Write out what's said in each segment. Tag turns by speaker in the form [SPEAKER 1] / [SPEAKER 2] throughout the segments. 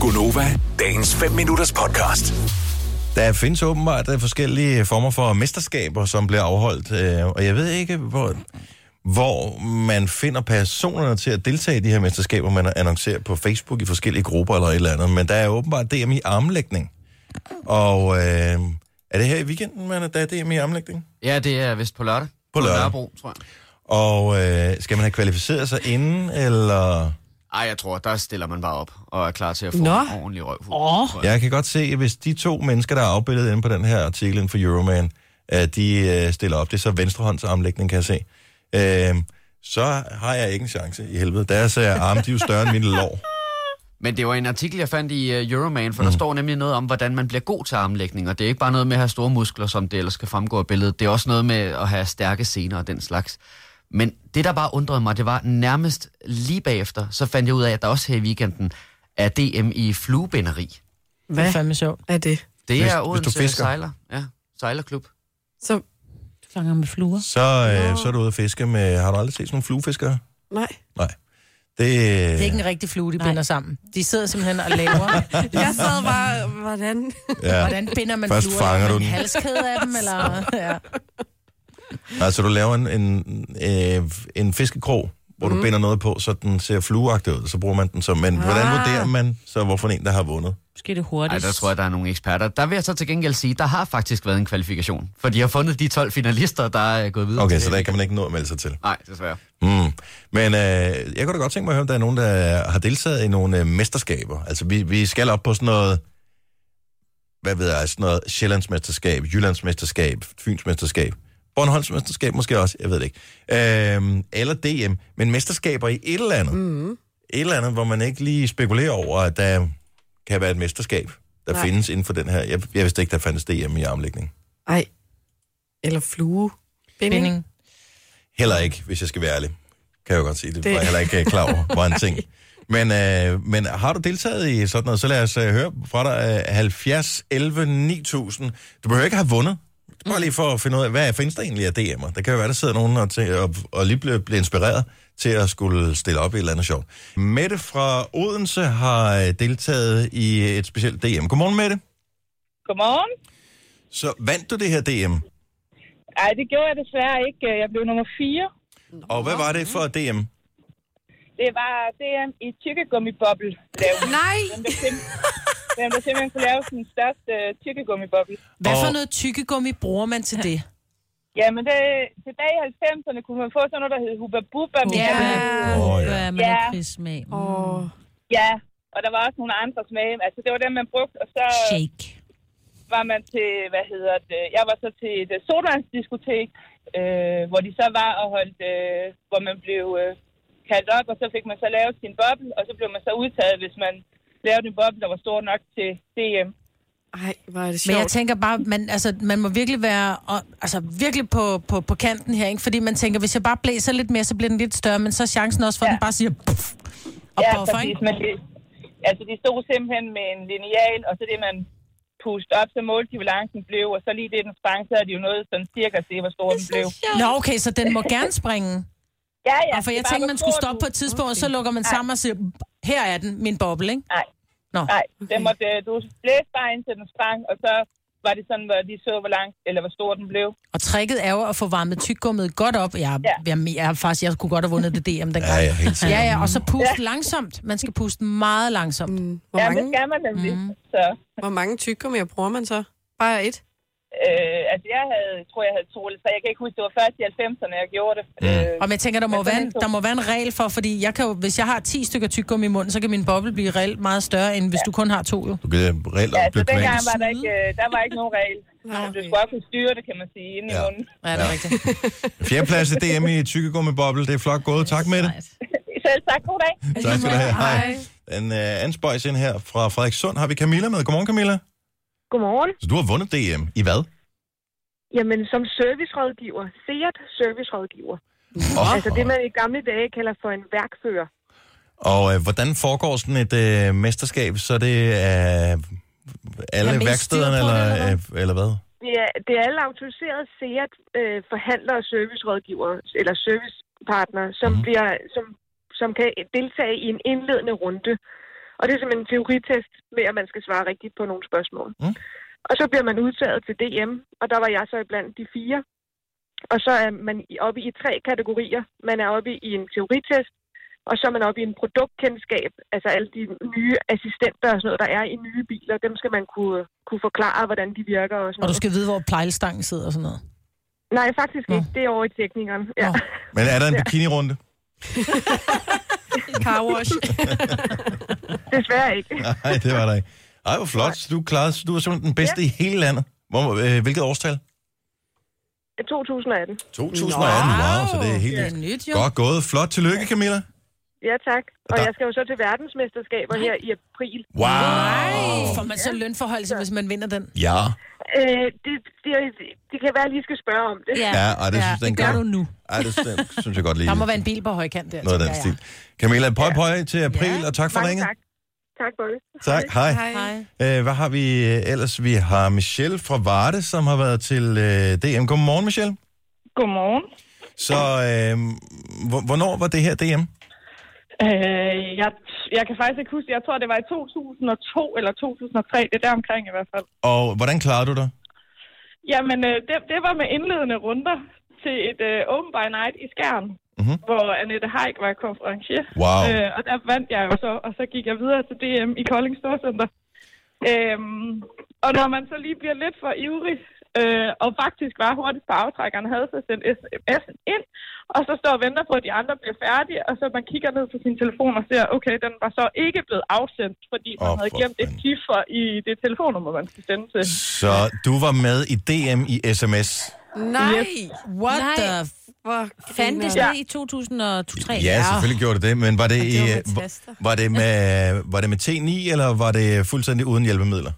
[SPEAKER 1] Gunova, dagens 5 minutters podcast.
[SPEAKER 2] Der findes åbenbart øh, forskellige former for mesterskaber, som bliver afholdt, øh, og jeg ved ikke, hvor, hvor man finder personerne til at deltage i de her mesterskaber, man annoncerer på Facebook i forskellige grupper eller et eller andet, men der er åbenbart DM i armlægning. Og øh, er det her i weekenden, man er der er DM i armlægning?
[SPEAKER 3] Ja, det er vist på lørdag.
[SPEAKER 2] På lørdag.
[SPEAKER 3] Nørrebro, tror jeg.
[SPEAKER 2] Og øh, skal man have kvalificeret sig inden, eller...
[SPEAKER 3] Ej, jeg tror, der stiller man bare op og er klar til at få
[SPEAKER 4] Nå.
[SPEAKER 3] Nå. en ordentlig røv.
[SPEAKER 4] Åh.
[SPEAKER 2] Jeg kan godt se, at hvis de to mennesker, der er afbildet inde på den her artikel inden for Euroman, at de øh, stiller op, det er så venstrehåndsarmlægning, kan jeg se, øh, så har jeg ikke en chance i helvede. Deres øh, arme, de er jo større end mine lår.
[SPEAKER 3] Men det var en artikel, jeg fandt i uh, Euroman, for mm. der står nemlig noget om, hvordan man bliver god til armlægning. Og det er ikke bare noget med at have store muskler, som det ellers skal fremgå af billedet. Det er også noget med at have stærke sener og den slags. Men det, der bare undrede mig, det var nærmest lige bagefter, så fandt jeg ud af, at der også her i weekenden er DM i fluebinderi.
[SPEAKER 4] Hvad? Det er fandme sjovt.
[SPEAKER 5] er det?
[SPEAKER 3] Det
[SPEAKER 2] Hvis-
[SPEAKER 3] er
[SPEAKER 2] hvis du
[SPEAKER 3] Odense
[SPEAKER 2] fisker.
[SPEAKER 3] Sejler. Ja, sejlerklub.
[SPEAKER 5] Så,
[SPEAKER 4] Fanger med fluer.
[SPEAKER 2] Så, øh, så er du ude at fiske med... Har du aldrig set sådan nogle fluefiskere?
[SPEAKER 5] nej.
[SPEAKER 2] Nej. Det,
[SPEAKER 4] Det er ikke en rigtig flue, de binder sammen. De sidder simpelthen og laver.
[SPEAKER 5] Jeg sad bare, hvordan?
[SPEAKER 2] ja.
[SPEAKER 4] Hvordan binder man
[SPEAKER 2] Først
[SPEAKER 4] fluer?
[SPEAKER 2] fanger
[SPEAKER 4] Laver
[SPEAKER 2] du
[SPEAKER 4] man
[SPEAKER 2] den.
[SPEAKER 4] halskæde af dem, eller? Ja.
[SPEAKER 2] Altså, du laver en, en, øh, en fiskekrog, hvor
[SPEAKER 4] Mhm.
[SPEAKER 2] mm. du binder noget på, så den ser flueagtig ud, så bruger man den som...
[SPEAKER 4] Ah.
[SPEAKER 2] Men hvordan vurderer man så, hvorfor en, der har vundet?
[SPEAKER 4] Måske det
[SPEAKER 3] Ej,
[SPEAKER 4] hurtigt.
[SPEAKER 3] der tror jeg, der er nogle eksperter. Der vil jeg så til gengæld sige, der har faktisk været en kvalifikation. For de har fundet de 12 finalister, der er gået videre.
[SPEAKER 2] Okay,
[SPEAKER 3] til
[SPEAKER 2] så
[SPEAKER 3] det.
[SPEAKER 2] der kan man ikke nå at melde sig til.
[SPEAKER 3] Nej, desværre.
[SPEAKER 2] Mm. Men øh, jeg kunne da godt tænke mig at høre, om der er nogen, der har deltaget i nogle øh, mesterskaber. Altså, vi, vi skal op på sådan noget, hvad ved jeg, sådan noget Sjællandsmesterskab, Jyllandsmesterskab, Fynsmesterskab, Bornholmsmesterskab måske også, jeg ved det ikke. Øh, eller DM, men mesterskaber i et eller andet. Mm. Et eller andet, hvor man ikke lige spekulerer over, at der kan være et mesterskab, der Nej.
[SPEAKER 5] Nej.
[SPEAKER 2] findes inden for den her. Jeg, jeg vidste ikke, der fandtes DM i armlægning.
[SPEAKER 5] Ej. Eller flue.
[SPEAKER 4] Binding.
[SPEAKER 2] Heller ikke, hvis jeg skal være ærlig. Kan jeg jo godt sige, det, det.
[SPEAKER 5] Det-
[SPEAKER 2] var jeg heller ikke øh, klar over, var en ting. Men, øh, men har du deltaget i sådan noget, så lad os øh, høre fra dig øh, 70, 11, 9000. Du behøver ikke have vundet. Bare lige for at finde ud af, hvad findes der egentlig af DM'er? Der kan jo være, der sidder nogen og, tæ- og, og lige bliver, bliver inspireret til at skulle stille op i et eller andet sjovt. Mette fra Odense har øh, deltaget i et specielt DM. Godmorgen, Mette.
[SPEAKER 6] Godmorgen.
[SPEAKER 2] Så vandt du det her DM?
[SPEAKER 6] Ej, det gjorde jeg desværre ikke. Jeg blev nummer 4.
[SPEAKER 2] Og hvad var det for DM?
[SPEAKER 6] Det var DM i tykkegummiboble.
[SPEAKER 5] Nej!
[SPEAKER 6] Hvem der, sim- Hvem der simpelthen kunne lave den største øh, tykkegummiboble.
[SPEAKER 4] Hvad for
[SPEAKER 2] Og-
[SPEAKER 4] noget tykkegummi bruger man til det?
[SPEAKER 6] Jamen, det, tilbage i 90'erne kunne man få sådan noget, der hed Hubba Bubba. men
[SPEAKER 4] Ja.
[SPEAKER 6] der var-
[SPEAKER 2] Åh,
[SPEAKER 7] Hvad er man
[SPEAKER 6] Ja.
[SPEAKER 7] ikke frisk med? Mm.
[SPEAKER 5] Åh.
[SPEAKER 6] ja. Og der var også nogle andre smage. Altså, det var dem, man brugte. Og så øh,
[SPEAKER 7] Shake.
[SPEAKER 6] var man til, hvad hedder det, jeg var så til et øh, sodavandsdiskotek, øh, hvor de så var og holdt, øh, hvor man blev øh, kaldt op, og så fik man så lavet sin boble, og så blev man så udtaget, hvis man lavede en boble, der var stor nok til DM.
[SPEAKER 5] Ej, hvor er det sjovt.
[SPEAKER 4] Men jeg tænker bare, man, altså, man må virkelig være og, altså, virkelig på, på, på kanten her, ikke? fordi man tænker, hvis jeg bare blæser lidt mere, så bliver den lidt større, men så er chancen også for, at den bare siger puff, og
[SPEAKER 6] ja,
[SPEAKER 4] ja, buffer,
[SPEAKER 6] præcis,
[SPEAKER 4] ikke?
[SPEAKER 6] men det, altså de stod simpelthen med en lineal, og så det, man pustede op, så målte de, hvor lang den blev, og så lige det, den sprang, så er det jo noget sådan cirka at se, hvor stor den blev.
[SPEAKER 4] Nå, okay, så den må gerne springe.
[SPEAKER 6] Ja, ja.
[SPEAKER 4] Ja, for
[SPEAKER 6] det
[SPEAKER 4] jeg
[SPEAKER 6] er bare,
[SPEAKER 4] tænkte,
[SPEAKER 6] hvor
[SPEAKER 4] man skulle
[SPEAKER 6] stor
[SPEAKER 4] stoppe på
[SPEAKER 6] du-
[SPEAKER 4] et tidspunkt, og så lukker man sammen og siger, her er den, min boble, ikke?
[SPEAKER 6] Nej.
[SPEAKER 4] Nå.
[SPEAKER 6] Nej, den måtte, øh, du blæste bare indtil den sprang, og så var det sådan, hvor de så, hvor lang, eller hvor stor den blev.
[SPEAKER 4] Og tricket er jo at få varmet tyggummet godt op. Jeg,
[SPEAKER 6] Ja.
[SPEAKER 4] jeg, jeg, jeg, faktisk, jeg kunne godt have vundet det DM dengang.
[SPEAKER 2] Ja, ja, helt sikkert.
[SPEAKER 4] ja, ja, og så puste ja. langsomt. Man skal puste meget langsomt. Mm.
[SPEAKER 5] Mm,
[SPEAKER 6] Ja,
[SPEAKER 5] hvor,
[SPEAKER 6] det
[SPEAKER 5] mange,
[SPEAKER 6] skal man nemlig. Mm. Så,
[SPEAKER 5] hvor mange tyggegummier bruger man så? Bare et?
[SPEAKER 6] øh, altså jeg havde, jeg tror, jeg havde to eller tre. Jeg kan ikke huske, det var først i 90'erne, jeg gjorde det. Mm. Øh,
[SPEAKER 4] Og men jeg tænker, der må,
[SPEAKER 6] Men sådan
[SPEAKER 4] være en,
[SPEAKER 6] en to-
[SPEAKER 4] der må være en regel for, fordi jeg kan jo, hvis jeg har 10 stykker tyggegummi i munden, så kan min boble blive reelt meget større, end hvis du kun har to. Jo.
[SPEAKER 2] Du kan reelt
[SPEAKER 6] ja,
[SPEAKER 2] ja,
[SPEAKER 6] så
[SPEAKER 2] blive
[SPEAKER 6] altså, dengang
[SPEAKER 2] kvalt.
[SPEAKER 6] var der ikke, øh, der var ikke nogen regel.
[SPEAKER 5] Nej.
[SPEAKER 6] Du skulle også kunne styre det, kan man sige, inde ja. i
[SPEAKER 2] Ja.
[SPEAKER 6] munden.
[SPEAKER 4] Ja, det er rigtigt.
[SPEAKER 2] Fjerdeplads i DM i tykkegummiboble. Det er flot gået. Tak med det.
[SPEAKER 7] Sejt.
[SPEAKER 6] Selv tak, god dag.
[SPEAKER 2] Tak skal du have. Hej. En uh, anden spøjs ind her fra Frederikssund har vi Camilla med. Godmorgen, Camilla.
[SPEAKER 8] Godmorgen.
[SPEAKER 2] Så du har vundet DM. I hvad?
[SPEAKER 8] Jamen, som servicerådgiver, SEAT servicerådgiver.
[SPEAKER 2] Og,
[SPEAKER 8] Altså det, man i gamle dage kalder for en værkfører.
[SPEAKER 2] og uh, hvordan foregår sådan et uh, mesterskab? Så er det uh, alle
[SPEAKER 4] Er mest
[SPEAKER 2] værkstederne,
[SPEAKER 4] styr
[SPEAKER 2] eller,
[SPEAKER 4] på det, eller
[SPEAKER 2] eller, uh, eller hvad?
[SPEAKER 8] Det er, det er alle autoriserede SEAT øh, forhandlere og servicerådgivere, eller
[SPEAKER 4] Mhm.
[SPEAKER 8] servicepartnere, som, mm. bliver, som, som kan deltage i en indledende runde. Og det er simpelthen en teoritest med, at man skal svare rigtigt på nogle spørgsmål.
[SPEAKER 4] Mhm.
[SPEAKER 2] Mm.
[SPEAKER 8] Og så bliver man udtaget til DM, og der var jeg så blandt de fire. Og så er man i- oppe i tre kategorier. Man er oppe i en teoritest, og så er man oppe i en produktkendskab. Altså alle de nye assistenter og sådan noget, der er i nye biler, dem skal man kunne, kunne forklare, hvordan de virker og sådan
[SPEAKER 4] Og du
[SPEAKER 8] noget.
[SPEAKER 4] skal vide, hvor plejlestangen sidder og sådan noget.
[SPEAKER 8] Nej, faktisk
[SPEAKER 4] Nå.
[SPEAKER 8] ikke. Det er over i teknikeren. Ja.
[SPEAKER 4] Nå.
[SPEAKER 2] Men er der en bikini-runde?
[SPEAKER 5] Car wash.
[SPEAKER 8] Desværre ikke.
[SPEAKER 2] Nej, det var der ikke. Ej, hvor flot. Så Du, klarede, du er simpelthen den bedste ja. i hele landet. Hvor, øh, hvilket årstal?
[SPEAKER 8] 2018.
[SPEAKER 2] 2018. Wow, wow så det er helt
[SPEAKER 4] Det er
[SPEAKER 2] nyt.
[SPEAKER 4] nyt, jo.
[SPEAKER 2] Godt gået. Flot. Tillykke, Camilla.
[SPEAKER 8] Ja, tak. Og
[SPEAKER 2] Der-
[SPEAKER 8] jeg skal jo så til verdensmesterskaber her i april.
[SPEAKER 2] Wow.
[SPEAKER 4] Får man så lønforholdelse, hvis man vinder den?
[SPEAKER 2] Ja.
[SPEAKER 8] Øh, det, det, det kan være, at jeg lige skal spørge om det.
[SPEAKER 2] Ja, og det synes jeg, den
[SPEAKER 4] det gør
[SPEAKER 2] gør.
[SPEAKER 4] du nu.
[SPEAKER 2] Ej, det synes- synes jeg godt lige.
[SPEAKER 4] Der må være en bil på højkant der,
[SPEAKER 2] Noget af den
[SPEAKER 4] tænker
[SPEAKER 2] stil. Camilla, pøj pøj til april,
[SPEAKER 4] Ja.
[SPEAKER 2] og tak for
[SPEAKER 8] Mange
[SPEAKER 2] ringet.
[SPEAKER 8] tak. Tak for det.
[SPEAKER 2] Tak, hej.
[SPEAKER 5] Hej.
[SPEAKER 4] jeg. Hej.
[SPEAKER 2] Øh, hvad har vi øh, ellers? Vi har Michelle fra Varde, som har været til øh, DM. Godmorgen, Michelle.
[SPEAKER 8] Godmorgen.
[SPEAKER 2] Så øh, hvor- hvornår var det her DM?
[SPEAKER 8] Øh, jeg, jeg kan faktisk ikke huske, jeg tror, det var i 2002 eller 2003, det er der omkring i hvert fald.
[SPEAKER 2] Og hvordan klarede du dig?
[SPEAKER 8] Jamen, øh, det, det var med indledende runder til et øh, Open by Night i Skjern,
[SPEAKER 2] Mhm.
[SPEAKER 8] mm-hmm. hvor Annette Haik var konferencier.
[SPEAKER 2] Wow.
[SPEAKER 8] Øh, og der vandt jeg jo så, og så gik jeg videre til DM i Kolding Storcenter. Øhm, og når man så lige bliver lidt for ivrig, øh, og faktisk var hurtigt på aftrækkeren, havde så sendt sms'en ind, og så står og venter på, at de andre bliver færdige, og så man kigger ned på sin telefon og ser, okay, den var så ikke blevet afsendt, fordi man
[SPEAKER 2] Åh,
[SPEAKER 8] oh, havde
[SPEAKER 2] for
[SPEAKER 8] glemt et
[SPEAKER 2] fanden.
[SPEAKER 8] ciffer i det telefonnummer, man skulle sende til.
[SPEAKER 2] Så du var med i DM i sms?
[SPEAKER 5] Nej,
[SPEAKER 4] What
[SPEAKER 6] Nej.
[SPEAKER 4] the... f-
[SPEAKER 5] hvor
[SPEAKER 6] Fandtes
[SPEAKER 5] griner.
[SPEAKER 6] det i 2003?
[SPEAKER 2] Ja, selvfølgelig gjorde det det, men var det,
[SPEAKER 5] det var
[SPEAKER 2] i,
[SPEAKER 5] med
[SPEAKER 2] øh,
[SPEAKER 5] taster.
[SPEAKER 2] var det, med, var det med T9, eller var det fuldstændig uden hjælpemidler?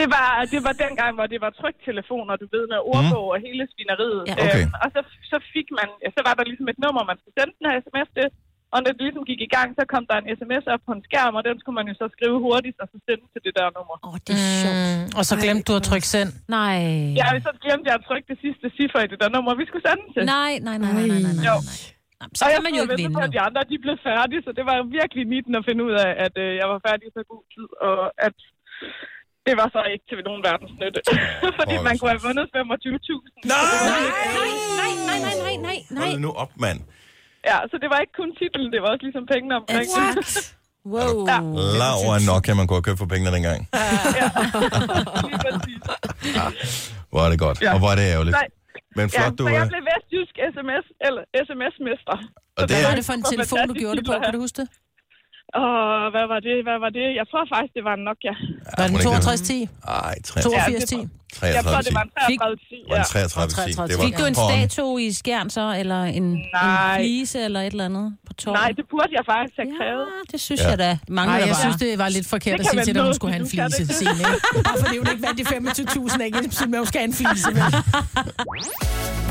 [SPEAKER 6] Det var, det var dengang, hvor det var tryktelefoner, du ved, med ordbog og hele svineriet. øhm,
[SPEAKER 4] Ja.
[SPEAKER 2] Okay.
[SPEAKER 6] og så, så fik man, ja, så var der ligesom et nummer, man skulle sende den her sms til. Og når det ligesom gik i gang, så kom der en sms op på en skærm, og den skulle man jo så skrive hurtigt og så sende til det der nummer.
[SPEAKER 9] Åh, oh, det er sjovt.
[SPEAKER 4] Mm, og så glemte du at trykke send.
[SPEAKER 9] Nej.
[SPEAKER 6] Ja, og så glemte jeg at trykke det sidste ciffer i det der nummer, vi skulle sende den til.
[SPEAKER 9] Nej, nej, nej, nej, nej, nej, nej.
[SPEAKER 6] Jo.
[SPEAKER 9] Nå, Så
[SPEAKER 6] og jeg
[SPEAKER 9] kan man jo ikke
[SPEAKER 6] stod og ventede
[SPEAKER 9] vinde
[SPEAKER 6] på,
[SPEAKER 9] nu.
[SPEAKER 6] at de andre de blev færdige, så det var virkelig nitten at finde ud af, at øh, jeg var færdig i så god tid, og at det var så ikke til nogen verdens nytte. Fordi man kunne have vundet 25.000.
[SPEAKER 2] Nej!
[SPEAKER 9] Nej, nej, nej, nej, nej, nej.
[SPEAKER 2] Hold nu op, mand.
[SPEAKER 6] Ja, så det var ikke kun titlen, det var også ligesom pengene omkring. det.
[SPEAKER 9] Wow.
[SPEAKER 2] Laura nok kan man kunne have købt for pengene dengang.
[SPEAKER 6] Lige præcis.
[SPEAKER 2] Hvor er det godt,
[SPEAKER 6] Ja.
[SPEAKER 2] og hvor er det ærgerligt.
[SPEAKER 6] Nej.
[SPEAKER 2] Men
[SPEAKER 6] Ja,
[SPEAKER 2] flot, du
[SPEAKER 6] så jeg
[SPEAKER 2] er.
[SPEAKER 6] blev vestjysk sms, eller SMS-mester.
[SPEAKER 2] Og det
[SPEAKER 4] Hvad var
[SPEAKER 2] er,
[SPEAKER 4] det for en telefon, du gjorde det på? Kan du huske det?
[SPEAKER 6] Og hvad var det? Hvad var det? Jeg tror faktisk, det var en Nokia.
[SPEAKER 4] Var
[SPEAKER 2] må
[SPEAKER 4] den
[SPEAKER 2] det ikke det?
[SPEAKER 4] 6210?
[SPEAKER 2] ej, 33,
[SPEAKER 4] 8210?
[SPEAKER 6] Jeg
[SPEAKER 2] 33,
[SPEAKER 6] tror,
[SPEAKER 2] Det var en 33, det
[SPEAKER 6] det var en 3310.
[SPEAKER 2] var-
[SPEAKER 4] 33.
[SPEAKER 9] Fik du en
[SPEAKER 2] Porn.
[SPEAKER 9] statue i Skjern så, eller en, en
[SPEAKER 6] Nej.
[SPEAKER 9] flise, eller et eller andet på torvet?
[SPEAKER 6] Nej, det burde jeg faktisk have krævet.
[SPEAKER 9] Ja, det synes
[SPEAKER 2] Ja.
[SPEAKER 9] ja. jeg da. Mange
[SPEAKER 4] Nej,
[SPEAKER 9] der
[SPEAKER 4] jeg
[SPEAKER 9] bare.
[SPEAKER 4] synes, det var lidt forkert
[SPEAKER 6] Det
[SPEAKER 4] at sige
[SPEAKER 6] kan man
[SPEAKER 4] til dig, at hun
[SPEAKER 6] nå,
[SPEAKER 4] skulle have en
[SPEAKER 6] hvis du
[SPEAKER 4] flise
[SPEAKER 6] kan det.
[SPEAKER 4] scene, ikke? Bare fordi hun ikke vandt de 25.000, er ikke ensbetydende med, at hun skal have en flise. vel?